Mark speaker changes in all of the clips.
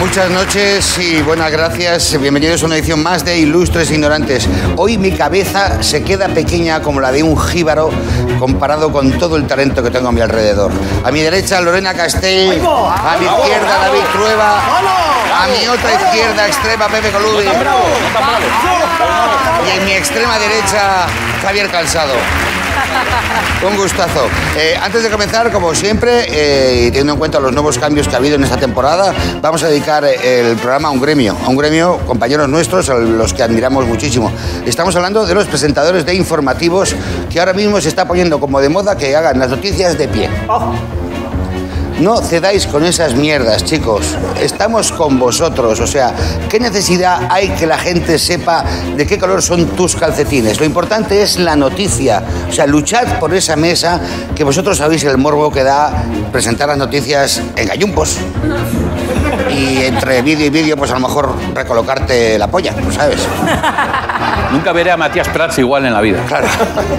Speaker 1: Muchas noches y buenas gracias. Bienvenidos a una edición más de Ilustres Ignorantes. Hoy mi cabeza se queda pequeña como la de un jíbaro comparado con todo el talento que tengo a mi alrededor. A mi derecha Lorena Castell, a mi izquierda David Trueba, a mi otra izquierda extrema Pepe Colubi y en mi extrema derecha Javier Calzado. Un gustazo. Eh, antes de comenzar, como siempre, eh, y teniendo en cuenta los nuevos cambios que ha habido en esta temporada, vamos a dedicar eh, el programa a un gremio, a un gremio, compañeros nuestros, a los que admiramos muchísimo. Estamos hablando de los presentadores de informativos que ahora mismo se está poniendo como de moda que hagan las noticias de pie. No cedáis con esas mierdas, chicos. Estamos con vosotros. O sea, ¿qué necesidad hay que la gente sepa de qué color son tus calcetines? Lo importante es la noticia. O sea, luchad por esa mesa que vosotros sabéis el morbo que da presentar las noticias en gallumpos. Y entre vídeo y vídeo, pues a lo mejor recolocarte la polla, ¿sabes?
Speaker 2: Nunca veré a Matías Prats igual en la vida.
Speaker 1: Claro.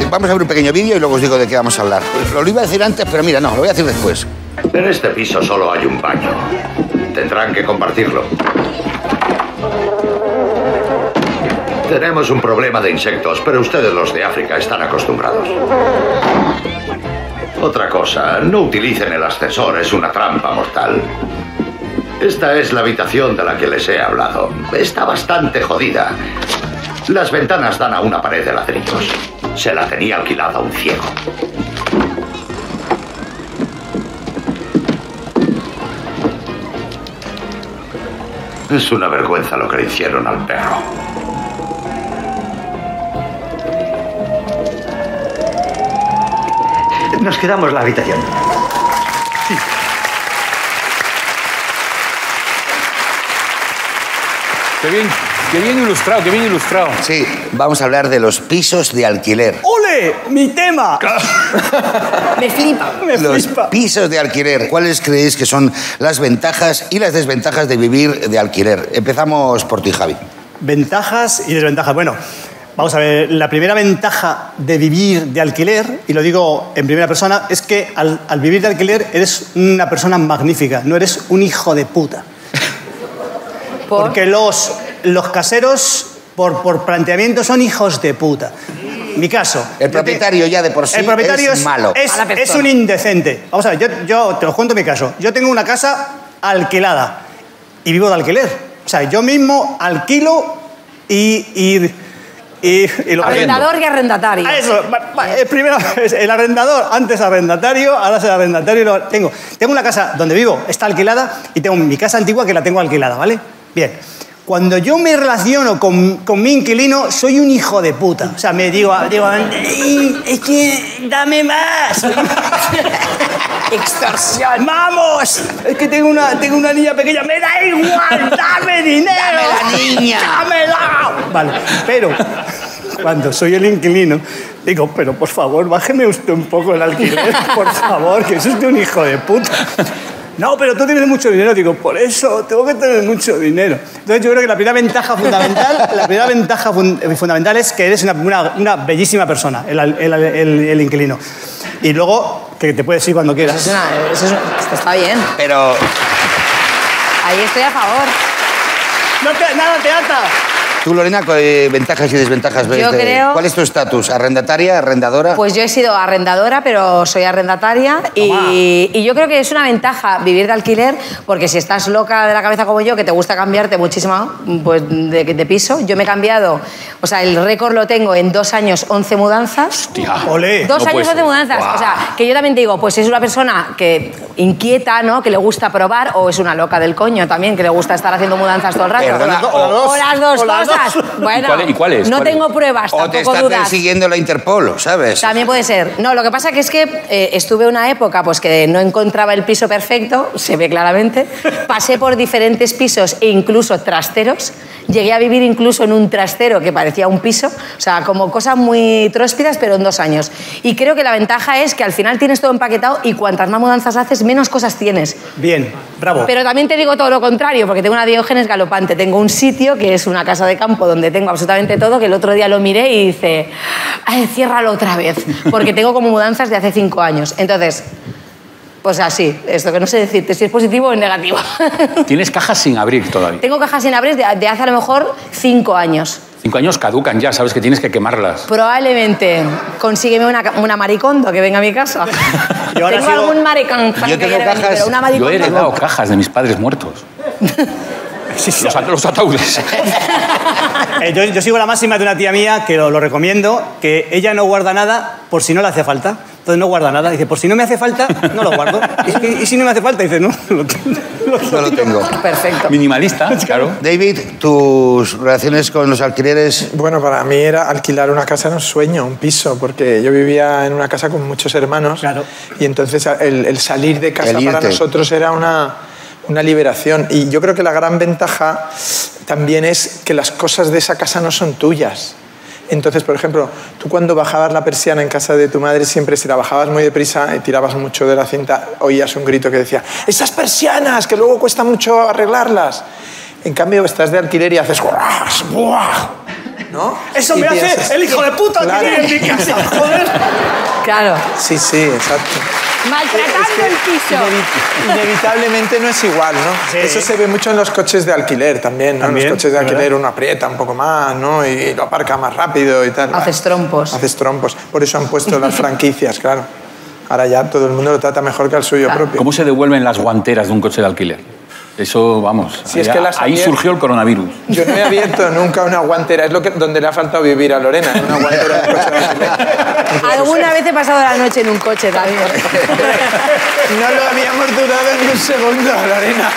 Speaker 1: Vamos a ver un pequeño vídeo y luego os digo de qué vamos a hablar. Lo iba a decir antes, pero mira, no, lo voy a decir después.
Speaker 3: En este piso solo hay un baño. Tendrán que compartirlo. Tenemos un problema de insectos, pero ustedes los de África están acostumbrados. Otra cosa, no utilicen el ascensor, es una trampa mortal. Esta es la habitación de la que les he hablado. Está bastante jodida. Las ventanas dan a una pared de ladrillos. Se la tenía alquilada un ciego. Es una vergüenza lo que le hicieron al perro.
Speaker 4: Nos quedamos la habitación.
Speaker 2: Qué bien, qué bien ilustrado, qué bien ilustrado.
Speaker 1: Sí, vamos a hablar de los pisos de alquiler.
Speaker 5: ¡Ole! ¡Mi tema!
Speaker 6: Me flipa.
Speaker 5: Me
Speaker 1: Los
Speaker 5: flipa.
Speaker 1: pisos de alquiler, ¿cuáles creéis que son las ventajas y las desventajas de vivir de alquiler? Empezamos por ti, Javi.
Speaker 5: Ventajas y desventajas. Bueno, vamos a ver. La primera ventaja de vivir de alquiler, y lo digo en primera persona, es que al, al vivir de alquiler eres una persona magnífica, no eres un hijo de puta.
Speaker 6: ¿Por?
Speaker 5: Porque los, los caseros, por, por planteamiento, son hijos de puta. Mi caso. yo
Speaker 1: El
Speaker 5: te-
Speaker 1: propietario ya de por sí
Speaker 5: el propietario es,
Speaker 1: malo.
Speaker 5: Es,
Speaker 6: Mala
Speaker 5: es
Speaker 6: persona.
Speaker 5: un indecente. Vamos a ver, yo, yo te lo cuento mi caso. Yo tengo una casa alquilada y vivo de alquiler. O sea, yo mismo alquilo y. y, y, y lo
Speaker 6: Arrendador y arrendatario.
Speaker 5: Ah, eso, va- va, eh, primero es el arrendador, antes arrendatario, ahora es el arrendatario y lo tengo. Tengo una casa donde vivo, está alquilada, y tengo mi casa antigua que la tengo alquilada, ¿vale? Bien. Cuando yo me relaciono con, con mi inquilino, soy un hijo de puta. O sea, me digo, digo "Ey, es que dame más.
Speaker 6: Extorsión.
Speaker 5: ¡Vamos! Es que tengo una, tengo una niña pequeña. ¡Me da igual! ¡Dame dinero!
Speaker 1: ¡Dame la niña!
Speaker 5: ¡Dámela! Vale, pero cuando soy el inquilino, digo, pero por favor, bájeme usted un poco el alquiler, por favor, que es usted un hijo de puta. No, pero tú tienes mucho dinero. Digo, por eso tengo que tener mucho dinero. Entonces yo creo que la primera ventaja fundamental, la primera ventaja fun- eh, fundamental es que eres una, una- una bellísima persona, el, al- el al- el- el inquilino. Y luego que te puedes ir cuando quieras.
Speaker 6: Es una- eso es una- esto está bien.
Speaker 1: Pero
Speaker 6: Ahí estoy a favor.
Speaker 5: No te, nada te ata.
Speaker 1: tú, Lorena, ¿cu- eh, ventajas y desventajas. ves
Speaker 6: Yo creo-
Speaker 1: ¿Cuál es tu estatus? ¿Arrendataria, arrendadora?
Speaker 6: Pues yo he sido arrendadora, pero soy arrendataria y, y yo creo que es una ventaja vivir de alquiler porque si estás loca de la cabeza como yo, que te gusta cambiarte muchísimo pues, de, de piso, yo me he cambiado, o sea, el récord lo tengo en dos años, 11 mudanzas.
Speaker 5: Olé.
Speaker 6: Ah.
Speaker 2: No
Speaker 6: Dos años
Speaker 2: puede
Speaker 6: hace
Speaker 2: ser.
Speaker 6: mudanzas. O sea, que yo también te digo, pues es una persona que inquieta, ¿no? Que le gusta probar, o es una loca del coño también, que le gusta estar haciendo mudanzas todo el rato.
Speaker 1: Perdona, o-
Speaker 6: o las dos
Speaker 5: o las
Speaker 6: cosas.
Speaker 5: dos.
Speaker 6: Bueno,
Speaker 2: ¿Y cuál- y cuál es?
Speaker 6: no
Speaker 2: ¿Cuál es?
Speaker 6: tengo pruebas,
Speaker 1: o te
Speaker 6: tampoco
Speaker 1: estás
Speaker 6: dudas.
Speaker 1: persiguiendo la Interpol, ¿sabes?
Speaker 6: También puede ser. No, lo que pasa que es que eh, estuve una época pues que no encontraba el piso perfecto, se ve claramente. Pasé por diferentes pisos e incluso trasteros. Llegué a vivir incluso en un trastero que parecía un piso, o sea, como cosas muy tróspidas, pero en dos años. Y creo que la ventaja es que al final tienes todo empaquetado y cuantas más mudanzas haces, menos cosas tienes.
Speaker 5: Bien, bravo.
Speaker 6: Pero también te digo todo lo contrario, porque tengo una diógenes galopante. Tengo un sitio que es una casa de campo donde tengo absolutamente todo, que el otro día lo miré y dice, "Ay, ciérralo otra vez, porque tengo como mudanzas de hace cinco años. Entonces, Pues así, esto que no sé decirte si es positivo o negativo.
Speaker 2: Tienes cajas sin abrir todavía.
Speaker 6: Tengo cajas sin abrir de, de hace a lo mejor cinco años.
Speaker 2: Cinco años caducan ya, sabes que tienes que quemarlas.
Speaker 6: Probablemente consígueme una, ca- una maricondo que venga a mi casa.
Speaker 5: Yo ahora
Speaker 6: tengo
Speaker 5: sigo-
Speaker 6: algún maricón que
Speaker 1: tengo
Speaker 6: quiere venir,
Speaker 1: cajas-
Speaker 6: pero una
Speaker 2: Yo
Speaker 6: maricondo
Speaker 2: he heredado
Speaker 6: no.
Speaker 2: cajas de mis padres muertos.
Speaker 5: Sí, sí,
Speaker 2: Los, at- los ataúdes.
Speaker 5: Eh, yo, yo sigo la máxima de una tía mía que lo, lo recomiendo, que ella no guarda nada por si no le hace falta. Entonces no guarda nada. Dice, por si no me hace falta, no lo guardo. Y, es que- y si no me hace falta, dice, no, lo, lo-
Speaker 1: No lo tengo.
Speaker 6: Perfecto.
Speaker 2: Minimalista, claro.
Speaker 1: David, tus relaciones con los alquileres.
Speaker 7: Bueno, para mí era alquilar una casa, era un sueño, un piso, porque yo vivía en una casa con muchos hermanos
Speaker 5: Claro.
Speaker 7: y entonces el, el salir de casa
Speaker 1: El
Speaker 7: para
Speaker 1: irte.
Speaker 7: nosotros era una, una liberación. Y yo creo que la gran ventaja también es que las cosas de esa casa no son tuyas. Entonces, por ejemplo, tú cuando bajabas la persiana en casa de tu madre, siempre si la bajabas muy deprisa y tirabas mucho de la cinta, oías un grito que decía, esas persianas, que luego cuesta mucho arreglarlas. En cambio, estás de alquiler y haces, ¡guas! ¡buah! ¿No?
Speaker 5: Eso
Speaker 7: Y
Speaker 5: me
Speaker 7: piensas-
Speaker 5: hace el hijo de puta
Speaker 7: Claro.
Speaker 5: que vive en mi casa, joder.
Speaker 6: Claro.
Speaker 7: Sí, sí, exacto.
Speaker 6: Maltratando
Speaker 7: Es que
Speaker 6: el piso.
Speaker 7: inevi- inevitablemente no es igual, ¿no?
Speaker 5: Sí.
Speaker 7: Eso se ve mucho en los coches de alquiler también, ¿no? En
Speaker 5: También,
Speaker 7: los coches de
Speaker 5: ¿verdad?
Speaker 7: alquiler uno aprieta un poco más, ¿no? Y lo aparca más rápido y tal.
Speaker 6: Haces trompos.
Speaker 7: Haces trompos. Por eso han puesto las franquicias, claro. Ahora ya todo el mundo lo trata mejor que al suyo propio.
Speaker 2: ¿Cómo se devuelven las guanteras de un coche de alquiler? Eso, vamos.
Speaker 7: Si es
Speaker 2: ahí-
Speaker 7: que las
Speaker 2: ahí
Speaker 7: había-
Speaker 2: surgió el coronavirus.
Speaker 7: Yo no he abierto nunca una guantera, es lo que, donde le ha faltado vivir a Lorena, en una guantera de coche de alquiler.
Speaker 6: Alguna vez he pasado la noche en un coche también.
Speaker 7: No lo habíamos durado ni un segundo, Lorena.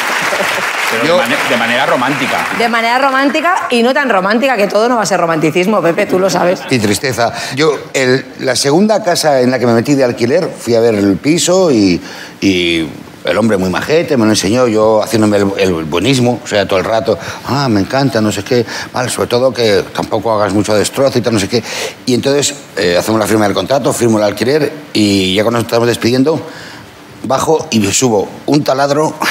Speaker 2: Pero
Speaker 1: Yo-
Speaker 2: de, mane- de manera romántica.
Speaker 6: De manera romántica y no tan romántica, que todo no va a ser romanticismo, Pepe, tú lo sabes.
Speaker 1: Y tristeza. Yo, el- la segunda casa en la que me metí de alquiler, fui a ver el piso y, y el hombre muy majete me lo enseñó, yo haciéndome el, el buenismo, o sea, todo el rato, ah, me encanta, no sé qué, mal, sobre todo que tampoco hagas mucho destrozo y tal, no sé qué. Y entonces eh, hacemos la firma del contrato, firmo el alquiler y ya cuando nos estamos despidiendo, bajo y subo un taladro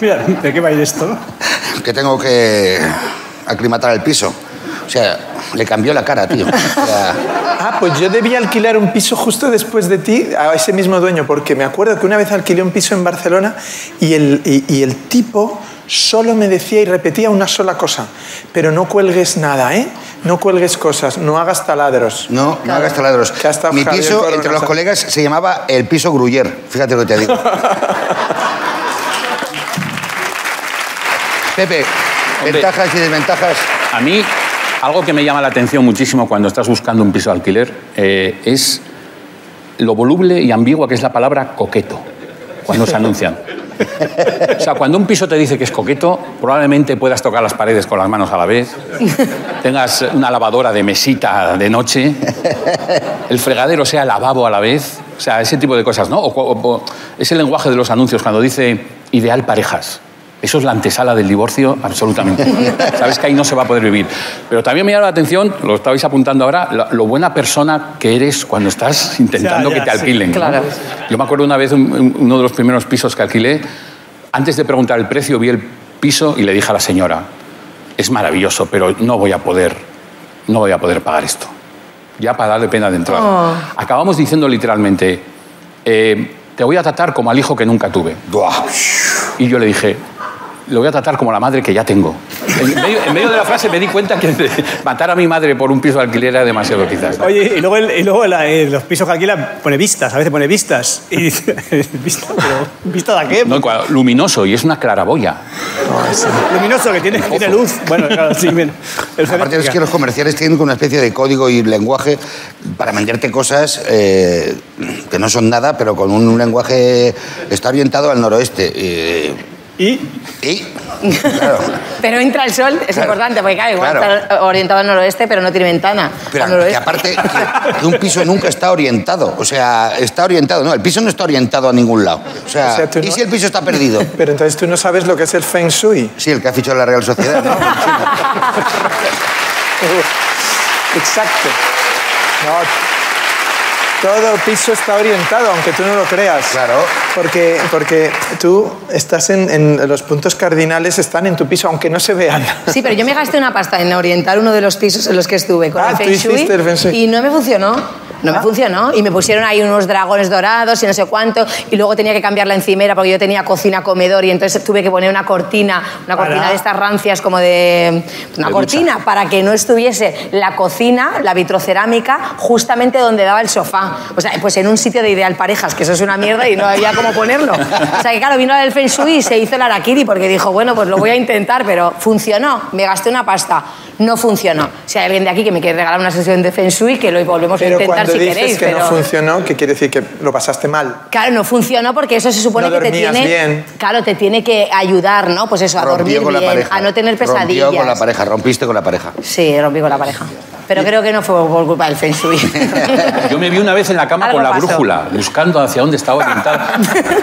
Speaker 5: Mira, ¿de qué va a ir esto?
Speaker 1: que tengo que aclimatar el piso. O sea, le cambió la cara, tío. O sea,
Speaker 7: Ah, pues yo debía alquilar un piso justo después de ti a ese mismo dueño, porque me acuerdo que una vez alquilé un piso en Barcelona y el, y- y el tipo solo me decía y repetía una sola cosa, pero no cuelgues nada, ¿eh? No cuelgues cosas, no hagas taladros.
Speaker 1: No, no hagas taladros.
Speaker 7: Que ha estado
Speaker 1: Mi
Speaker 7: Javier
Speaker 1: piso,
Speaker 7: Corona,
Speaker 1: entre los
Speaker 7: o sea.
Speaker 1: colegas, se llamaba el piso Gruyer. Fíjate lo que te digo. Pepe,
Speaker 2: Hombre.
Speaker 1: ventajas y desventajas.
Speaker 2: A mí, algo que me llama la atención muchísimo cuando estás buscando un piso de alquiler eh, es lo voluble y ambigua que es la palabra coqueto cuando se anuncian. O sea, cuando un piso te dice que es coqueto, probablemente puedas tocar las paredes con las manos a la vez, tengas una lavadora de mesita de noche, el fregadero sea lavabo a la vez, o sea, ese tipo de cosas, ¿no? O, cu- o- o- es el lenguaje de los anuncios cuando dice ideal parejas. Eso es la antesala del divorcio, absolutamente. Sabes que ahí no se va a poder vivir. Pero también me llama la atención, lo estabais apuntando ahora, lo, lo buena persona que eres cuando estás intentando
Speaker 5: Ya, ya,
Speaker 2: que te
Speaker 5: sí.
Speaker 2: alquilen. ¿no?
Speaker 6: Claro.
Speaker 2: Yo me acuerdo una vez, un- un- uno de los primeros pisos que alquilé, antes de preguntar el precio, vi el piso y le dije a la señora, es maravilloso, pero no voy a poder, no voy a poder pagar esto. Ya para darle pena de entrada.
Speaker 6: Oh.
Speaker 2: Acabamos diciendo literalmente, "Eh, te voy a tratar como al hijo que nunca tuve.
Speaker 1: Buah.
Speaker 2: Y yo le dije, lo voy a tratar como la madre que ya tengo. En medio, en medio de la frase me di cuenta que matar a mi madre por un piso de alquiler era demasiado quizás.
Speaker 5: Oye, y luego, el- y luego la- eh, los pisos que alquila pone vistas, a veces pone vistas. Y dice, ¿vista? ¿Pero vista de qué?
Speaker 2: No, cua- luminoso y es una claraboya.
Speaker 5: Luminoso, que tiene, tiene luz. Bueno, claro, sí, bien. El
Speaker 1: Aparte es
Speaker 5: eléctrica.
Speaker 1: que los comerciales tienen como una especie de código y lenguaje para venderte cosas eh, que no son nada, pero con un lenguaje está orientado al noroeste. eh,
Speaker 5: Y
Speaker 1: y, claro,
Speaker 6: Pero entra el sol, es
Speaker 1: Claro.
Speaker 6: importante, porque claro, igual
Speaker 1: Claro.
Speaker 6: está orientado al noroeste, pero no tiene ventana.
Speaker 1: Pero
Speaker 6: al
Speaker 1: que
Speaker 6: noroeste.
Speaker 1: aparte, que, que un piso nunca está orientado. O sea, está orientado. No, el piso no está orientado a ningún lado. O sea,
Speaker 7: O sea, tú
Speaker 1: ¿y
Speaker 7: no-
Speaker 1: si el piso está perdido?
Speaker 7: Pero entonces tú no sabes lo que es el Feng Shui.
Speaker 1: Sí, el que ha fichado la Real Sociedad, ¿no?
Speaker 7: Exacto. No, todo piso está orientado, aunque tú no lo creas.
Speaker 1: Claro.
Speaker 7: Porque, porque tú estás en, en- los puntos cardinales, están en tu piso, aunque no se vean.
Speaker 6: Sí, pero yo me gasté una pasta en orientar uno de los pisos en los que estuve con
Speaker 7: Ah,
Speaker 6: el
Speaker 7: tú
Speaker 6: Feng Shui
Speaker 7: hiciste el Feng Shui.
Speaker 6: y no me funcionó. No me funcionó. Y me pusieron ahí unos dragones dorados y no sé cuánto. Y luego tenía que cambiar la encimera porque yo tenía cocina, comedor. Y entonces tuve que poner una cortina, una
Speaker 5: Para-
Speaker 6: cortina de estas rancias como de. Una
Speaker 2: De
Speaker 6: cortina para que no estuviese la cocina, la vitrocerámica, justamente donde daba el sofá. O sea, pues en un sitio de ideal parejas, que eso es una mierda y no había cómo ponerlo. O sea, que claro, vino la del Feng Shui y se hizo el Arakiri porque dijo, bueno, pues lo voy a intentar, pero funcionó. Me gasté una pasta. No funcionó. Si hay alguien de aquí que me quiere regalar una sesión de Feng Shui, que lo volvemos
Speaker 7: Pero
Speaker 6: a intentar
Speaker 7: cuando
Speaker 6: si
Speaker 7: dices
Speaker 6: queréis.
Speaker 7: que
Speaker 6: pero...
Speaker 7: no funcionó, ¿qué quiere decir? Que lo pasaste mal.
Speaker 6: Claro, no funcionó porque eso se supone
Speaker 7: No
Speaker 6: que te
Speaker 7: dormías
Speaker 6: tiene,
Speaker 7: bien.
Speaker 6: claro, te tiene que ayudar, ¿no? Pues eso, a dormir
Speaker 1: Rompió con la
Speaker 6: bien,
Speaker 1: pareja.
Speaker 6: a no tener
Speaker 1: Rompió
Speaker 6: pesadillas.
Speaker 1: con la pareja, rompiste con la pareja.
Speaker 6: Sí, rompí con la pareja. Pero creo que no fue por culpa del Feng Shui.
Speaker 2: Yo me vi una vez en la cama
Speaker 6: Algo
Speaker 2: con la
Speaker 6: pasó.
Speaker 2: brújula, buscando hacia dónde estaba orientada.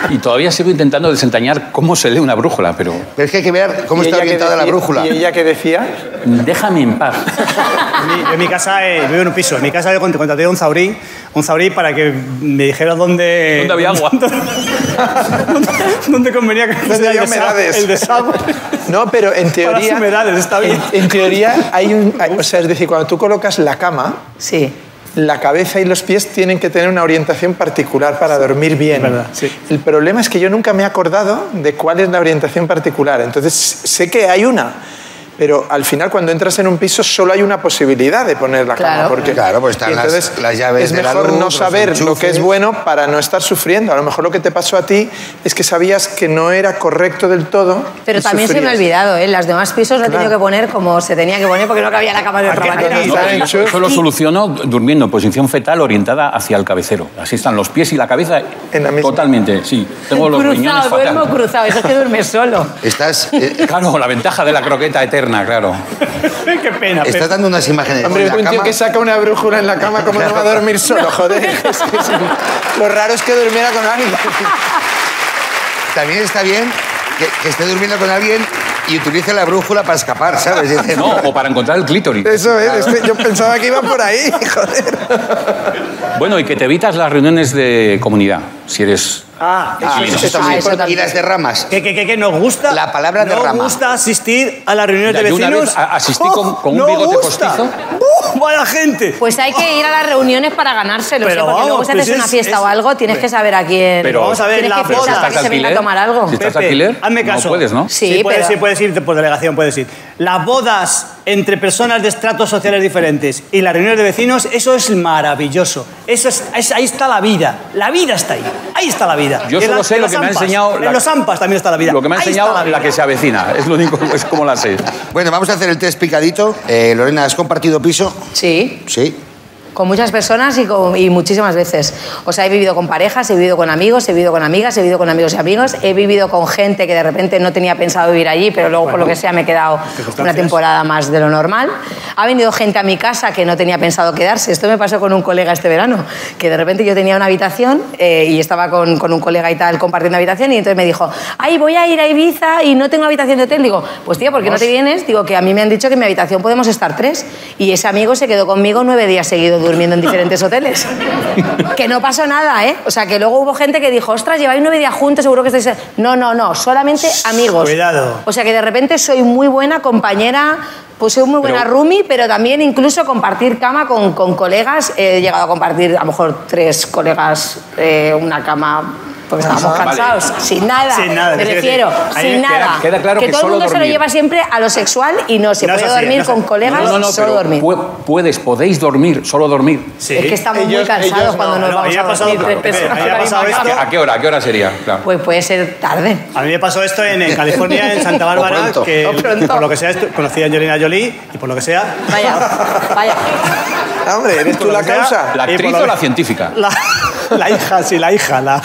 Speaker 2: Y todavía sigo intentando desentrañar cómo se lee una brújula, pero
Speaker 1: Pero es que hay que ver cómo
Speaker 7: ¿Y
Speaker 1: está
Speaker 7: ella qué
Speaker 1: orientada la
Speaker 7: decía-
Speaker 1: brújula.
Speaker 7: ¿Y ella qué decía?
Speaker 2: déjame en paz.
Speaker 5: En mi, yo en mi casa, eh, vivo en un piso, en mi casa yo cont- contraté a un zaurí, un zaurí para que me dijera dónde...
Speaker 2: ¿Dónde había agua?
Speaker 5: dónde, dónde convenía que fuese
Speaker 7: había
Speaker 5: el desa-
Speaker 7: humedades?
Speaker 5: El desagüe.
Speaker 7: No, pero en
Speaker 5: Para las
Speaker 7: teoría.
Speaker 5: humedades, está bien.
Speaker 7: En, en teoría hay un. hay- o sea, es decir, cuando tú colocas la cama,
Speaker 6: Sí.
Speaker 7: la cabeza y los pies tienen que tener una orientación particular para dormir bien.
Speaker 5: es verdad, sí.
Speaker 7: El problema es que yo nunca me he acordado de cuál es la orientación particular. Entonces sé que hay una, pero al final cuando entras en un piso solo hay una posibilidad de poner la cama.
Speaker 6: Claro.
Speaker 7: Porque,
Speaker 1: Claro, pues están
Speaker 7: y
Speaker 1: las- las llaves
Speaker 7: Es
Speaker 1: de la
Speaker 7: mejor
Speaker 1: luz,
Speaker 7: no
Speaker 1: los
Speaker 7: saber lo que
Speaker 1: enchufes.
Speaker 7: es bueno para no estar sufriendo. A lo mejor lo que te pasó a ti es que sabías que no era correcto del todo.
Speaker 6: Pero
Speaker 7: y
Speaker 6: también se me ha
Speaker 7: sufrías.
Speaker 6: olvidado, ¿eh? Las demás pisos lo he tenido que poner como se tenía que poner porque no cabía la cama de otra manera.
Speaker 7: Aquí,
Speaker 2: No, pero yo
Speaker 7: Sancho.
Speaker 2: eso lo soluciono durmiendo en posición fetal orientada hacia el cabecero. Así están los pies y la cabeza
Speaker 7: En la misma.
Speaker 2: totalmente, sí. Tengo los riñones
Speaker 6: Cruzado, duermo
Speaker 2: fatal.
Speaker 6: cruzado. Eso es que duermes solo.
Speaker 1: Estás, eh,
Speaker 2: Claro, la ventaja de la croqueta eterna, claro.
Speaker 5: Qué pena. pero-
Speaker 1: estás dando unas imágenes.
Speaker 7: Hombre,
Speaker 1: de la
Speaker 7: un tío
Speaker 1: cama.
Speaker 7: que saca una brújula en la cama, ¿cómo no va a dormir solo? Joder. Es que es un- Lo raro es que durmiera con alguien.
Speaker 1: También está bien que, que esté durmiendo con alguien y utilice la brújula para escapar, ¿sabes? Dice,
Speaker 2: No, o para encontrar el clítoris.
Speaker 7: Eso es, es que yo pensaba que iba por ahí, joder.
Speaker 2: Bueno, y que te evitas las reuniones de comunidad, si eres...
Speaker 5: Ah,
Speaker 1: Ah, eso
Speaker 6: eso
Speaker 1: sí,
Speaker 6: eso
Speaker 1: y
Speaker 6: también.
Speaker 1: las derramas.
Speaker 5: Que, que, que, que nos gusta.
Speaker 1: La palabra
Speaker 5: nos
Speaker 1: derrama.
Speaker 5: gusta asistir a las reuniones
Speaker 2: Ya,
Speaker 5: de
Speaker 2: yo una
Speaker 5: vecinos.
Speaker 2: vez a- asistí con- con un
Speaker 5: no
Speaker 2: bigote
Speaker 5: gusta.
Speaker 2: postizo.
Speaker 5: ¡Buh! ¡Vaya gente!
Speaker 6: Pues hay que ir a las reuniones para ganárselo,
Speaker 5: Pero
Speaker 6: ¿eh? porque luego
Speaker 5: vamos,
Speaker 6: si haces
Speaker 5: pues
Speaker 6: una
Speaker 5: es-
Speaker 6: fiesta
Speaker 5: es-
Speaker 6: o algo tienes que saber a quién.
Speaker 2: Pero- Vamos a ver,
Speaker 6: tienes
Speaker 5: la
Speaker 6: que
Speaker 2: Pero si
Speaker 5: boda.
Speaker 6: fichar para
Speaker 2: estás
Speaker 6: que se venga a
Speaker 2: alquiler,
Speaker 6: tomar algo.
Speaker 2: si estás
Speaker 5: Pepe,
Speaker 2: alquiler,
Speaker 5: hazme caso.
Speaker 2: no puedes, ¿no?
Speaker 6: Sí,
Speaker 5: sí, puedes,
Speaker 6: pero-
Speaker 5: sí, puedes ir por delegación, puedes ir. Las bodas entre personas de estratos sociales diferentes y las reuniones de vecinos, eso es maravilloso. Eso es, es- ahí está la vida. La vida está ahí. Ahí está la vida.
Speaker 2: Yo
Speaker 5: Y en
Speaker 2: solo
Speaker 5: la-
Speaker 2: sé
Speaker 5: en
Speaker 2: lo
Speaker 5: las
Speaker 2: que me ha
Speaker 5: ampas.
Speaker 2: enseñado la-
Speaker 5: En los ampas también está la vida.
Speaker 2: Lo que me ha
Speaker 5: Ahí
Speaker 2: enseñado
Speaker 5: está la vida.
Speaker 2: la que se avecina, es lo único, es como la sé.
Speaker 1: Bueno, vamos a hacer el test picadito. Eh, Lorena, ¿has compartido piso?
Speaker 6: Sí.
Speaker 1: Sí.
Speaker 6: Con muchas personas y, con- y muchísimas veces. O sea, he vivido con parejas, he vivido con amigos, he vivido con amigas, he vivido con amigos y amigos, he vivido con gente que de repente no tenía pensado vivir allí, pero luego por lo que sea me he quedado una temporada más de lo normal. Ha venido gente a mi casa que no tenía pensado quedarse. Esto me pasó con un colega este verano, que de repente yo tenía una habitación eh, y estaba con, con un colega y tal compartiendo habitación y entonces me dijo, ay, voy a ir a Ibiza y no tengo habitación de hotel. Digo, pues tío, ¿por qué no te vienes? Digo, que a mí me han dicho que en mi habitación podemos estar tres. Y ese amigo se quedó conmigo nueve días seguidos durmiendo en diferentes hoteles. que no pasó nada, ¿eh? O sea, que luego hubo gente que dijo, ostras, lleváis nueve días juntos, seguro que estáis... No, no, no, solamente amigos.
Speaker 5: Cuidado.
Speaker 6: O sea, que de repente soy muy buena compañera... Pues soy muy buena
Speaker 2: Pero-
Speaker 6: roomie, pero también incluso compartir cama con, con colegas. He llegado a compartir a lo mejor tres colegas eh, una cama porque estábamos
Speaker 2: Ajá.
Speaker 6: cansados. Sin nada.
Speaker 5: Sin nada,
Speaker 6: Me
Speaker 5: sí, sí.
Speaker 6: refiero,
Speaker 5: Ahí
Speaker 6: sin
Speaker 5: queda-
Speaker 6: nada.
Speaker 2: queda claro que
Speaker 6: todo
Speaker 2: solo
Speaker 6: el mundo se
Speaker 2: dormir.
Speaker 6: lo lleva siempre a lo sexual y no se
Speaker 5: No es
Speaker 6: puede
Speaker 5: así,
Speaker 6: dormir
Speaker 5: no es
Speaker 6: con
Speaker 5: así.
Speaker 6: colegas, solo
Speaker 2: pero
Speaker 6: dormir.
Speaker 2: pu- puedes, podéis dormir, solo dormir.
Speaker 5: Sí.
Speaker 6: Es que estamos muy
Speaker 7: Ellos-
Speaker 6: cansados
Speaker 7: ellos
Speaker 6: cuando
Speaker 7: no.
Speaker 6: nos
Speaker 5: No,
Speaker 6: vamos
Speaker 5: ahí ha
Speaker 6: a
Speaker 5: pasado-
Speaker 6: dormir tres
Speaker 5: Pepe,
Speaker 6: personas
Speaker 5: ahí ha
Speaker 6: con la
Speaker 5: pasado
Speaker 6: misma
Speaker 5: esto.
Speaker 6: cama.
Speaker 2: ¿A qué hora? ¿A qué hora sería? Claro.
Speaker 6: Pues puede ser tarde.
Speaker 5: A mí me pasó esto en, en California, en Santa
Speaker 1: O
Speaker 5: Bárbara,
Speaker 1: pronto.
Speaker 5: que
Speaker 6: O pronto.
Speaker 5: por lo que sea estu- conocí a Angelina Jolie y por lo que sea...
Speaker 6: Vaya, vaya.
Speaker 7: Hombre, ¿eres tú
Speaker 5: por lo
Speaker 7: la
Speaker 5: que sea,
Speaker 7: causa?
Speaker 2: ¿La
Speaker 5: y por
Speaker 2: actriz
Speaker 5: lo
Speaker 2: o la
Speaker 5: que-
Speaker 2: científica?
Speaker 5: La, la hija, sí, la hija. La,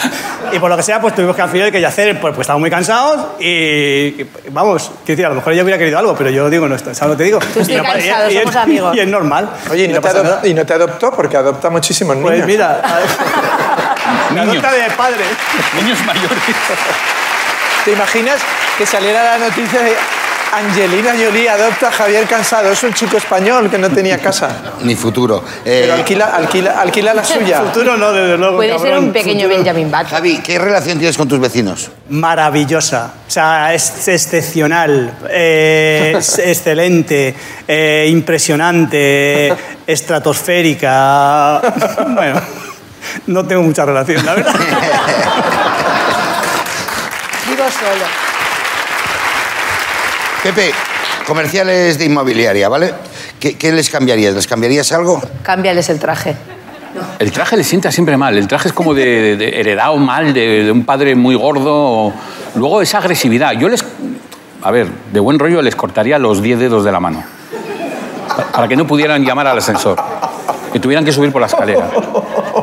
Speaker 5: y por lo que sea, pues tuvimos que al final que yacer, pues, pues estábamos muy cansados y, y, vamos, quiero decir, a lo mejor ella hubiera querido algo, pero yo digo, no, ¿sabes lo que te digo?
Speaker 6: Tú estoy
Speaker 5: Y no pa-
Speaker 6: cansado,
Speaker 5: y- y-
Speaker 6: somos amigos.
Speaker 5: Y es normal.
Speaker 7: Oye, ¿y no, te
Speaker 5: pasa
Speaker 7: adop-
Speaker 5: nada.
Speaker 7: y no te adoptó? Porque adopta muchísimos niños.
Speaker 5: Pues mira, la
Speaker 2: Niños.
Speaker 5: nota de padre.
Speaker 2: Niños mayores.
Speaker 7: ¿Te imaginas que saliera la noticia de Angelina Jolie adopta a Javier Cansado. Es un chico español que no tenía casa.
Speaker 1: Ni futuro. Eh,
Speaker 7: Pero alquila, alquila, alquila la suya.
Speaker 5: Futuro no, desde luego.
Speaker 6: Puede ser
Speaker 5: cabrón,
Speaker 6: un pequeño
Speaker 5: futuro.
Speaker 6: Benjamin Button.
Speaker 1: Javi, ¿qué relación tienes con tus vecinos?
Speaker 5: maravillosa, o sea, es excepcional, eh, es excelente, eh, impresionante, eh, estratosférica. Bueno, no tengo mucha relación, la verdad.
Speaker 6: Vivo solo.
Speaker 1: Pepe, comerciales de inmobiliaria, ¿vale? ¿Qué, qué les cambiarías? ¿Les cambiarías algo?
Speaker 5: Pues
Speaker 6: Cámbiales el traje.
Speaker 2: El traje le sienta siempre mal. El traje es como de, de- de heredado mal de, de un padre muy gordo. o- Luego esa agresividad. Yo les. A ver, de buen rollo les cortaría los 10 dedos de la mano. Pa- Para que no pudieran llamar al ascensor. Que tuvieran que subir por la escalera.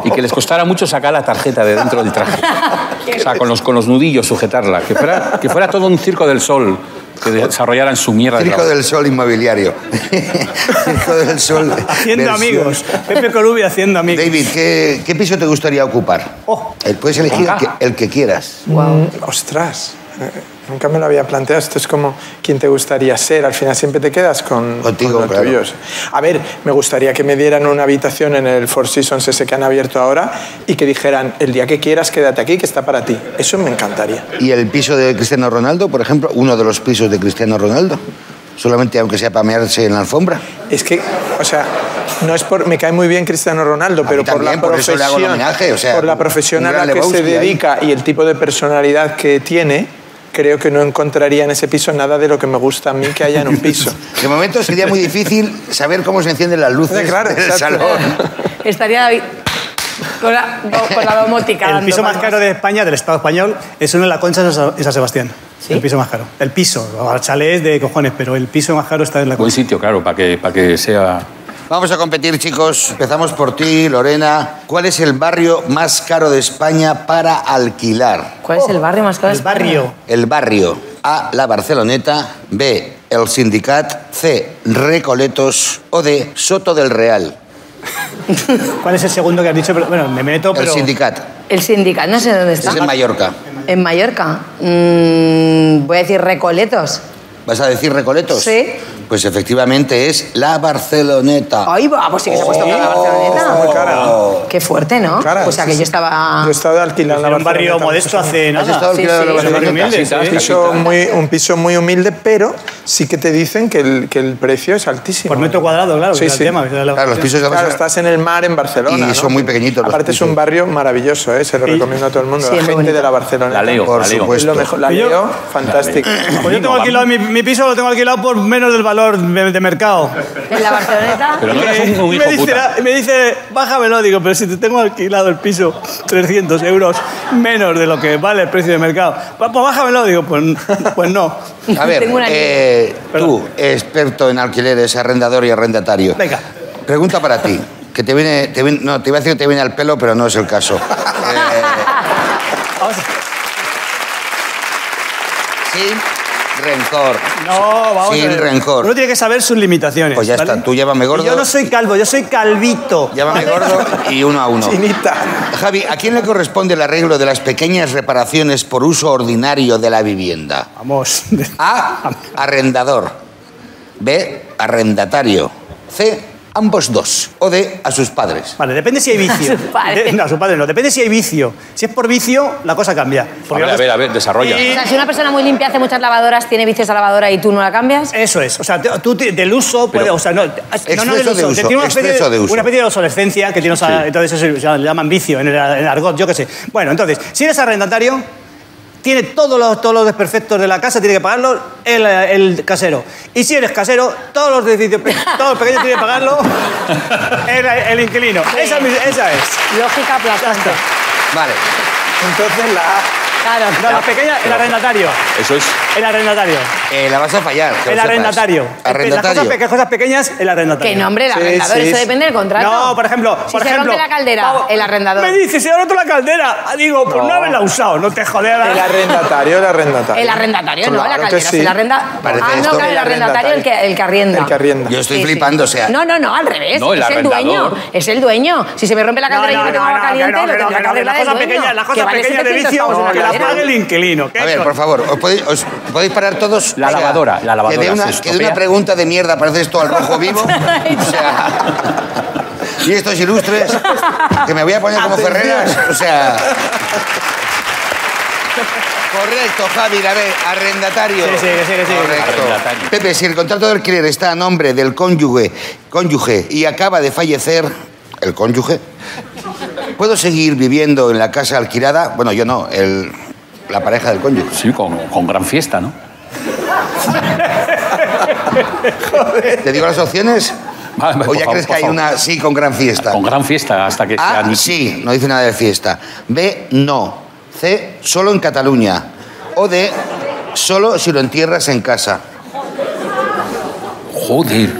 Speaker 2: Y que les costara mucho sacar la tarjeta de dentro del traje. O sea, con los, con los nudillos sujetarla. Que fuera, que fuera todo un circo del sol. Que desarrollaran su mierda. de
Speaker 1: Circo
Speaker 2: trabajo.
Speaker 1: del Sol inmobiliario. Circo del Sol.
Speaker 5: Haciendo
Speaker 1: versión-
Speaker 5: amigos. Pepe Colubi haciendo amigos.
Speaker 1: David, ¿qué, qué piso te gustaría ocupar?
Speaker 5: Oh.
Speaker 1: Eh, Puedes elegir el que, el que quieras.
Speaker 6: Wow.
Speaker 7: Mm, Ostras, eh, nunca me lo había planteado. Esto es como quién te gustaría ser. Al final siempre te quedas con,
Speaker 1: Contigo,
Speaker 7: con lo
Speaker 1: claro.
Speaker 7: tuyo. A ver, me gustaría que me dieran una habitación en el Four Seasons ese que han abierto ahora y que dijeran, el día que quieras, quédate aquí, que está para ti. Eso me encantaría.
Speaker 1: ¿Y el piso de Cristiano Ronaldo, por ejemplo? Uno de los pisos de Cristiano Ronaldo. Solamente aunque sea para mearse en la alfombra.
Speaker 7: Es que, o sea, no es por. Me cae muy bien Cristiano Ronaldo, pero por
Speaker 1: también,
Speaker 7: la
Speaker 1: por eso
Speaker 7: profesión.
Speaker 1: le hago el homenaje, o sea,
Speaker 7: por la
Speaker 1: un
Speaker 7: profesión a
Speaker 1: gran
Speaker 7: la que
Speaker 1: Lebowski
Speaker 7: se
Speaker 1: ahí.
Speaker 7: dedica y el tipo de personalidad que tiene, creo que no encontraría en ese piso nada de lo que me gusta a mí que haya en un piso.
Speaker 1: De momento sería muy difícil saber cómo se encienden las luces
Speaker 7: Sí, claro,
Speaker 1: del
Speaker 7: exacto.
Speaker 1: salón.
Speaker 6: Estaría David con la, con la domótica.
Speaker 5: El
Speaker 6: dando
Speaker 5: piso más
Speaker 6: palmas.
Speaker 5: caro de España, del Estado español, es uno en la Concha de Sa- de San Sebastián. El piso más caro. El piso, ahora chalés de cojones, pero el piso más caro está en la
Speaker 2: Buen
Speaker 5: Concha.
Speaker 2: sitio, claro, para que, para que sea.
Speaker 1: Vamos a competir, chicos. Empezamos por ti, Lorena. ¿Cuál es el barrio más caro de España para alquilar?
Speaker 6: ¿Cuál es el barrio más caro? de
Speaker 5: El
Speaker 6: España?
Speaker 5: barrio.
Speaker 1: El barrio A, la Barceloneta, B, el Sindicat, C, Recoletos o D, Soto del Real.
Speaker 5: ¿Cuál es el segundo que has dicho? Pero, bueno, me meto,
Speaker 1: El
Speaker 5: pero...
Speaker 1: Sindicat
Speaker 6: El sindicato, no sé dónde está.
Speaker 1: es en Mallorca.
Speaker 6: En Mallorca. Mm, voy a decir Recoletos.
Speaker 1: ¿Vas a decir Recoletos?
Speaker 6: Sí.
Speaker 1: Pues efectivamente es la Barceloneta.
Speaker 6: Ahí va, pues sí que se ha puesto cara la Barceloneta.
Speaker 7: Oh, Está muy cara.
Speaker 6: Qué fuerte, ¿no?
Speaker 7: Cara,
Speaker 6: o sea,
Speaker 7: sí, Pues-
Speaker 6: que
Speaker 7: sí.
Speaker 6: yo estaba...
Speaker 7: Yo he estado alquilando
Speaker 5: Era un barrio modesto hace nada.
Speaker 1: estado
Speaker 6: Sí,
Speaker 1: alquilado
Speaker 6: sí.
Speaker 1: en la
Speaker 6: Sí,
Speaker 1: Barceloneta?
Speaker 5: humilde,
Speaker 2: Casitas,
Speaker 5: sí.
Speaker 7: Un piso, muy, un piso muy humilde, pero sí que te dicen que el, que el precio es altísimo.
Speaker 5: Por metro cuadrado, claro,
Speaker 7: Sí,
Speaker 5: que era
Speaker 7: sí.
Speaker 5: el tema. que era la-
Speaker 1: Claro, los pisos de
Speaker 7: Claro,
Speaker 1: Barcelona-
Speaker 7: estás en el mar en Barcelona.
Speaker 1: Y son
Speaker 7: ¿no?
Speaker 1: muy pequeñitos los
Speaker 7: Aparte es
Speaker 1: pisos.
Speaker 7: un barrio maravilloso, ¿eh? se lo
Speaker 5: Y-
Speaker 7: recomiendo a todo el mundo.
Speaker 6: Sí,
Speaker 7: la
Speaker 6: es muy
Speaker 7: gente
Speaker 6: bonito.
Speaker 7: de la Barcelona.
Speaker 2: La leo,
Speaker 1: Por
Speaker 2: la leo.
Speaker 7: Es
Speaker 1: supuesto.
Speaker 7: lo mejor. La
Speaker 5: Y Pues yo-
Speaker 7: leo, fantástico.
Speaker 5: Pues yo tengo alquilado, mi, mi piso lo tengo alquilado por menos del valor de, de mercado.
Speaker 6: En la Barceloneta...
Speaker 2: Pero no eras un, un
Speaker 5: Y
Speaker 2: hijo
Speaker 5: me, dice,
Speaker 2: puta.
Speaker 5: y me dice, bájamelo, digo, pero si te tengo alquilado el piso 300 euros menos de lo que vale el precio de mercado. "Va, Pues bájamelo, digo, pues, pues no.
Speaker 1: A ver,
Speaker 6: Tengo una niña.
Speaker 1: eh, tú,
Speaker 5: Perdón.
Speaker 1: experto en alquileres, arrendador y arrendatario.
Speaker 5: Venga.
Speaker 1: Pregunta para ti. Que te viene, te viene- no, te iba a decir que te viene al pelo, pero no es el caso. Eh,
Speaker 5: Vamos a-
Speaker 1: sin rencor.
Speaker 5: No, vamos
Speaker 1: Sin
Speaker 5: a ver.
Speaker 1: rencor.
Speaker 5: Uno tiene que saber sus limitaciones.
Speaker 1: Pues ya está, tú llámame gordo.
Speaker 5: Y Yo no soy calvo, yo soy calvito.
Speaker 1: Llámame gordo y uno a uno.
Speaker 7: Chinita.
Speaker 1: Javi, ¿a quién le corresponde el arreglo de las pequeñas reparaciones por uso ordinario de la vivienda?
Speaker 5: Vamos.
Speaker 1: A. Arrendador. B. Arrendatario. C. Ambos dos. O D. A sus padres.
Speaker 5: Vale, depende si hay vicio.
Speaker 6: A su padre.
Speaker 5: De- no, a su padre no. Depende si hay vicio. Si es por vicio, la cosa cambia.
Speaker 2: A
Speaker 5: Porque
Speaker 2: ver, a ver, a ver, desarrolla.
Speaker 6: O sea, si una persona muy limpia hace muchas lavadoras, tiene vicios a lavadora y tú no la cambias...
Speaker 5: Eso es. O sea, te- tú te- del uso, puede, o sea, no, no, no del
Speaker 1: exceso de
Speaker 5: uso.
Speaker 1: uso,
Speaker 5: te tiene una especie,
Speaker 1: exceso de uso.
Speaker 5: una especie de obsolescencia que tiene, o sea, entonces eso se le llaman vicio en el, en el argot, yo qué sé. Bueno, entonces, si eres arrendatario, tiene todos los, todos los desperfectos de la casa, tiene que pagarlos el, el casero. Y si eres casero, todos los desperfectos pe- todos los pequeños tiene que pagarlo el, el inquilino. Esa, es mi- esa es.
Speaker 6: Lógica aplastante.
Speaker 1: Vale.
Speaker 7: Entonces la A.
Speaker 5: Claro. la pequeña, el arrendatario.
Speaker 2: Eso es.
Speaker 5: El arrendatario.
Speaker 1: Eh, la vas a fallar. que lo
Speaker 5: El
Speaker 1: sepas.
Speaker 5: arrendatario. Las
Speaker 1: Arrendatario.
Speaker 5: cosas, pe- cosas pequeñas, el arrendatario.
Speaker 6: Que nombre, el
Speaker 7: Sí,
Speaker 6: arrendador,
Speaker 7: sí,
Speaker 6: eso
Speaker 7: sí.
Speaker 6: depende del contrato.
Speaker 5: No, por ejemplo,
Speaker 6: Si
Speaker 5: por
Speaker 6: se
Speaker 5: ejemplo,
Speaker 6: rompe la caldera,
Speaker 5: vamos,
Speaker 6: el arrendador.
Speaker 5: Me dice, se ha roto la caldera. Ah, Digo, pues no,
Speaker 7: No.
Speaker 5: haberla usado, no te jodas.
Speaker 7: El arrendatario, el arrendatario.
Speaker 6: El arrendatario, no,
Speaker 7: Claro
Speaker 6: la
Speaker 7: que
Speaker 6: caldera.
Speaker 7: sí.
Speaker 6: El arrenda...
Speaker 1: Parece
Speaker 6: ah, no,
Speaker 1: esto-
Speaker 6: claro, el
Speaker 7: El
Speaker 6: arrendatario, el que, el que arrienda.
Speaker 7: El que arrienda.
Speaker 1: Yo estoy
Speaker 6: Sí, sí.
Speaker 1: flipando, o sea.
Speaker 6: No, no, no, al revés.
Speaker 2: No, el
Speaker 6: es el
Speaker 2: arrendador.
Speaker 6: dueño. Es el dueño. Si se me rompe la
Speaker 5: No,
Speaker 6: caldera y yo no tengo agua caliente, lo tendrá que
Speaker 5: que
Speaker 6: arreglar
Speaker 5: las
Speaker 6: el
Speaker 5: cosas
Speaker 6: dueño.
Speaker 5: pequeñas, las
Speaker 6: Que
Speaker 5: cosas
Speaker 6: vale
Speaker 5: pequeñas de
Speaker 6: 700
Speaker 5: vicio,
Speaker 6: pavos una
Speaker 5: que las
Speaker 6: caldera.
Speaker 5: pague el inquilino. ¿qué
Speaker 1: A ver,
Speaker 5: co-
Speaker 1: por favor, os podéis- os- ¿Podéis parar todos?
Speaker 2: La lavadora, la lavadora
Speaker 1: Que de una, que
Speaker 2: se
Speaker 1: de
Speaker 2: estropea.
Speaker 1: una pregunta de mierda parece esto al rojo vivo. O sea, y estos ilustres, que me voy a poner como
Speaker 7: Atención.
Speaker 1: Ferreras. O sea. Correcto, Javi, la ve, arrendatario.
Speaker 5: Sí, sí, que sí, que sí.
Speaker 1: Correcto.
Speaker 2: Arrendatario.
Speaker 1: Pepe, si el contrato de alquiler está a nombre del cónyuge, cónyuge y acaba de fallecer el cónyuge, ¿puedo seguir viviendo en la casa alquilada? Bueno, yo no, el, la pareja del cónyuge.
Speaker 2: Sí, con, con gran fiesta, ¿no?
Speaker 1: ¿Te digo las opciones?
Speaker 2: Vale, vale,
Speaker 1: ¿O
Speaker 2: por
Speaker 1: ya
Speaker 2: favor,
Speaker 1: crees que
Speaker 2: por
Speaker 1: hay
Speaker 2: favor.
Speaker 1: una sí con gran fiesta?
Speaker 2: Con gran fiesta hasta que sea
Speaker 1: A,
Speaker 2: ni-
Speaker 1: sí, no dice nada de fiesta. B, no. C, solo en Cataluña. O D, solo si lo entierras en casa.
Speaker 2: Joder.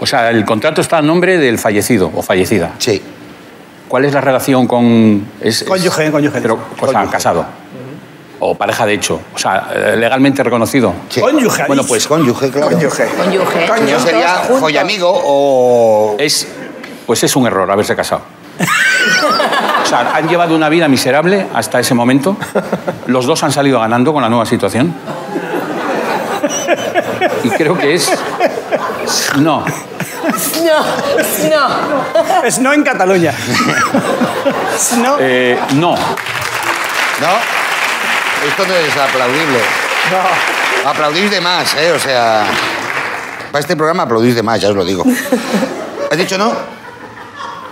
Speaker 2: O sea, el contrato está a nombre del fallecido o fallecida.
Speaker 1: Sí.
Speaker 2: ¿Cuál es la relación con...? Es, es-
Speaker 5: Cónyuge, cónyuge.
Speaker 2: Pero, o sea,
Speaker 1: Cónyuge.
Speaker 2: casado. O pareja de hecho. O sea, eh, legalmente reconocido.
Speaker 1: sí.
Speaker 5: Cónyuge, ha
Speaker 2: Bueno,
Speaker 5: dicho.
Speaker 2: pues
Speaker 1: Cónyuge, claro.
Speaker 7: Cónyuge.
Speaker 6: Cónyuge.
Speaker 1: Si no
Speaker 6: Juntos,
Speaker 1: sería
Speaker 6: juntos.
Speaker 1: joyamigo o...
Speaker 2: es, pues es un error haberse casado. O sea, han llevado una vida miserable hasta ese momento. Los dos han salido ganando con la nueva situación. Y creo que es... No.
Speaker 6: No, no.
Speaker 5: Es no en Cataluña. Es no.
Speaker 2: Eh, no.
Speaker 1: ¿No? Esto no es aplaudible. Aplaudís de más, ¿eh? O sea... Para este programa aplaudís de más, ya os lo digo. ¿Has dicho no?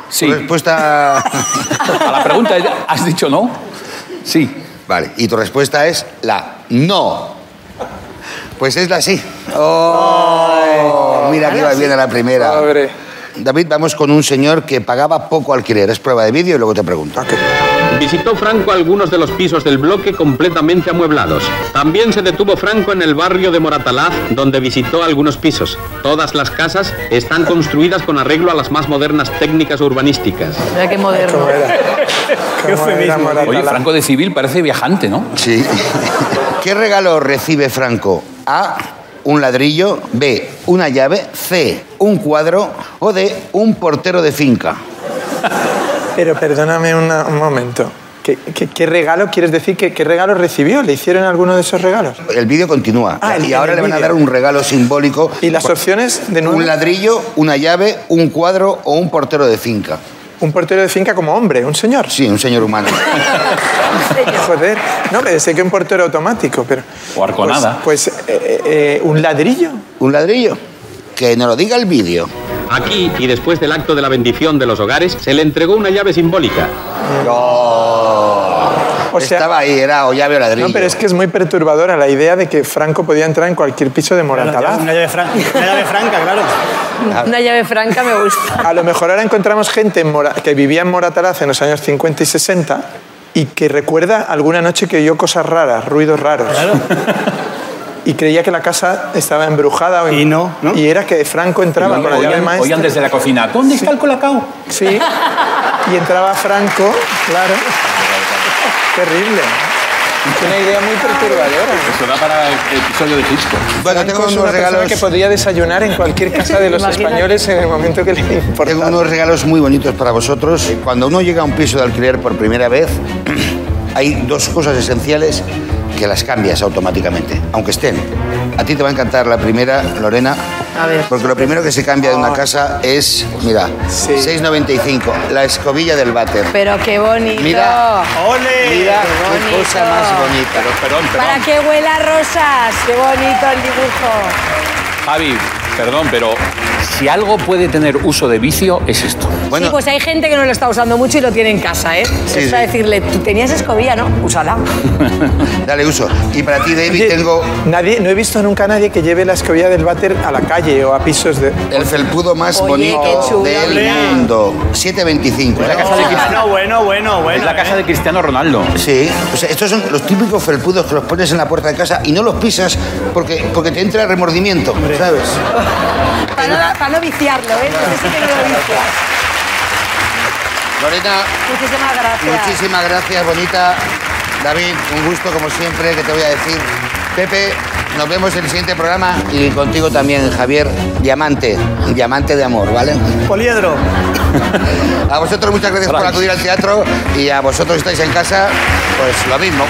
Speaker 2: Sí.
Speaker 1: Tu respuesta...
Speaker 2: A la pregunta es, ¿has dicho no? Sí.
Speaker 1: Vale, y tu respuesta es la no. Pues es la sí. Oh, mira que iba bien a la primera.
Speaker 7: Pobre.
Speaker 1: David, vamos con un señor que pagaba poco alquiler. Es prueba de vídeo y luego te pregunto.
Speaker 8: Visitó Franco algunos de los pisos del bloque completamente amueblados. También se detuvo Franco en el barrio de Moratalaz, donde visitó algunos pisos. Todas las casas están construidas con arreglo a las más modernas técnicas urbanísticas.
Speaker 6: Mira qué moderno.
Speaker 7: ¿Cómo era? ¿Cómo era
Speaker 5: eufemismo.
Speaker 7: Moratalá?
Speaker 2: Oye, Franco de Civil parece viajante, ¿no?
Speaker 1: Sí. ¿Qué regalo recibe Franco? A. Un ladrillo. B. Una llave. C. Un cuadro. O D. Un portero de finca.
Speaker 7: Pero perdóname una- un momento. ¿Qué, qué, qué regalo quieres decir? ¿Qué, ¿Qué regalo recibió? ¿Le hicieron alguno de esos regalos?
Speaker 1: El vídeo continúa.
Speaker 7: Ah, el-
Speaker 1: y ahora
Speaker 7: el
Speaker 1: le van a
Speaker 7: vídeo.
Speaker 1: dar un regalo simbólico.
Speaker 7: ¿Y las opciones de nuevo?
Speaker 1: Un ladrillo, una llave, un cuadro o un portero de finca.
Speaker 7: Un portero de finca como hombre, un señor.
Speaker 1: Sí, un señor humano.
Speaker 7: Joder, no me sé que un portero automático, pero.
Speaker 2: O arconada.
Speaker 7: Pues, pues, eh, eh, un ladrillo.
Speaker 1: ¿Un ladrillo? Que nos lo diga el vídeo.
Speaker 8: Aquí, y después del acto de la bendición de los hogares, se le entregó una llave simbólica.
Speaker 7: O sea,
Speaker 1: Oh. Estaba ahí, era o llave o ladrillo.
Speaker 7: no, pero es que es muy perturbadora la idea de que Franco podía entrar en cualquier piso de
Speaker 5: Claro, Una
Speaker 7: Moratalá.
Speaker 5: llave franca, una llave franca claro.
Speaker 6: Una llave franca me gusta.
Speaker 7: A lo mejor ahora encontramos gente en Mora- que vivía en Moratalá en los años 50 y 60 y que recuerda alguna noche que oyó cosas raras, ruidos raros. Y creía que la casa estaba embrujada. o- em-,
Speaker 5: Y no, ¿no?
Speaker 7: Y era que Franco entraba con la llave
Speaker 2: Oían,
Speaker 7: maestra.
Speaker 2: oían desde la cocina, ¿dónde está el colacao?
Speaker 7: Sí. Y entraba Franco, claro. Terrible. Es una idea muy perturbadora.
Speaker 2: Eso da para el episodio de Hitchcock.
Speaker 1: Bueno, tengo
Speaker 7: Franco
Speaker 1: unos,
Speaker 7: es una persona
Speaker 1: regalos,
Speaker 7: que podría desayunar en cualquier casa de los
Speaker 6: Imagínate.
Speaker 7: españoles en el momento que le
Speaker 1: tengo
Speaker 7: importara.
Speaker 1: unos regalos muy bonitos para vosotros. Cuando uno llega a un piso de alquiler por primera vez, hay dos cosas esenciales que las cambias automáticamente, aunque estén. A ti te va a encantar la primera, Lorena.
Speaker 6: A ver.
Speaker 1: Porque lo primero que se cambia de una casa es, mira,
Speaker 7: Ah. Sí.
Speaker 1: 6.95, la escobilla del váter.
Speaker 6: Pero qué bonito.
Speaker 1: Mira.
Speaker 5: ¡Ole!
Speaker 1: Mira,
Speaker 6: Qué
Speaker 1: qué cosa
Speaker 6: bonito.
Speaker 1: más bonita.
Speaker 2: Perdón,
Speaker 6: Para
Speaker 2: perdón.
Speaker 6: que huela a rosas. Qué bonito el dibujo.
Speaker 2: Javi, perdón, pero si algo puede tener uso de vicio es esto.
Speaker 1: Bueno,
Speaker 6: sí, pues hay gente que no lo está usando mucho y lo tiene en casa, ¿eh? es para
Speaker 1: sí.
Speaker 6: decirle, tú tenías escobilla, ¿no? Úsala.
Speaker 1: dale uso. Y para ti, David,
Speaker 7: Oye,
Speaker 1: tengo
Speaker 7: Nadie, no he visto nunca a nadie que lleve la escobilla del váter a la calle o a pisos de...
Speaker 1: El felpudo más
Speaker 6: Oye, qué
Speaker 1: bonito
Speaker 6: chulo,
Speaker 1: del
Speaker 5: Lea.
Speaker 1: mundo. ¿eh? 7.25.
Speaker 2: Es la casa de, Cristi-
Speaker 5: Bueno, bueno, bueno, bueno.
Speaker 2: es la casa de Cristiano Ronaldo.
Speaker 1: Sí, o sea, estos son los típicos felpudos que los pones en la puerta de casa y no los pisas porque, porque te entra remordimiento, ¿sabes?
Speaker 6: Para no, para no viciarlo, ¿eh? Este sí que no lo vicia.
Speaker 1: Lorena,
Speaker 6: Muchísimas gracias.
Speaker 1: muchísimas gracias, bonita. David, un gusto como siempre, que te voy a decir. Pepe, nos vemos en el siguiente programa y contigo también, Javier, diamante, diamante de amor, ¿vale?
Speaker 5: Poliedro.
Speaker 1: A vosotros muchas gracias por acudir al teatro y a vosotros que estáis en casa, pues lo mismo.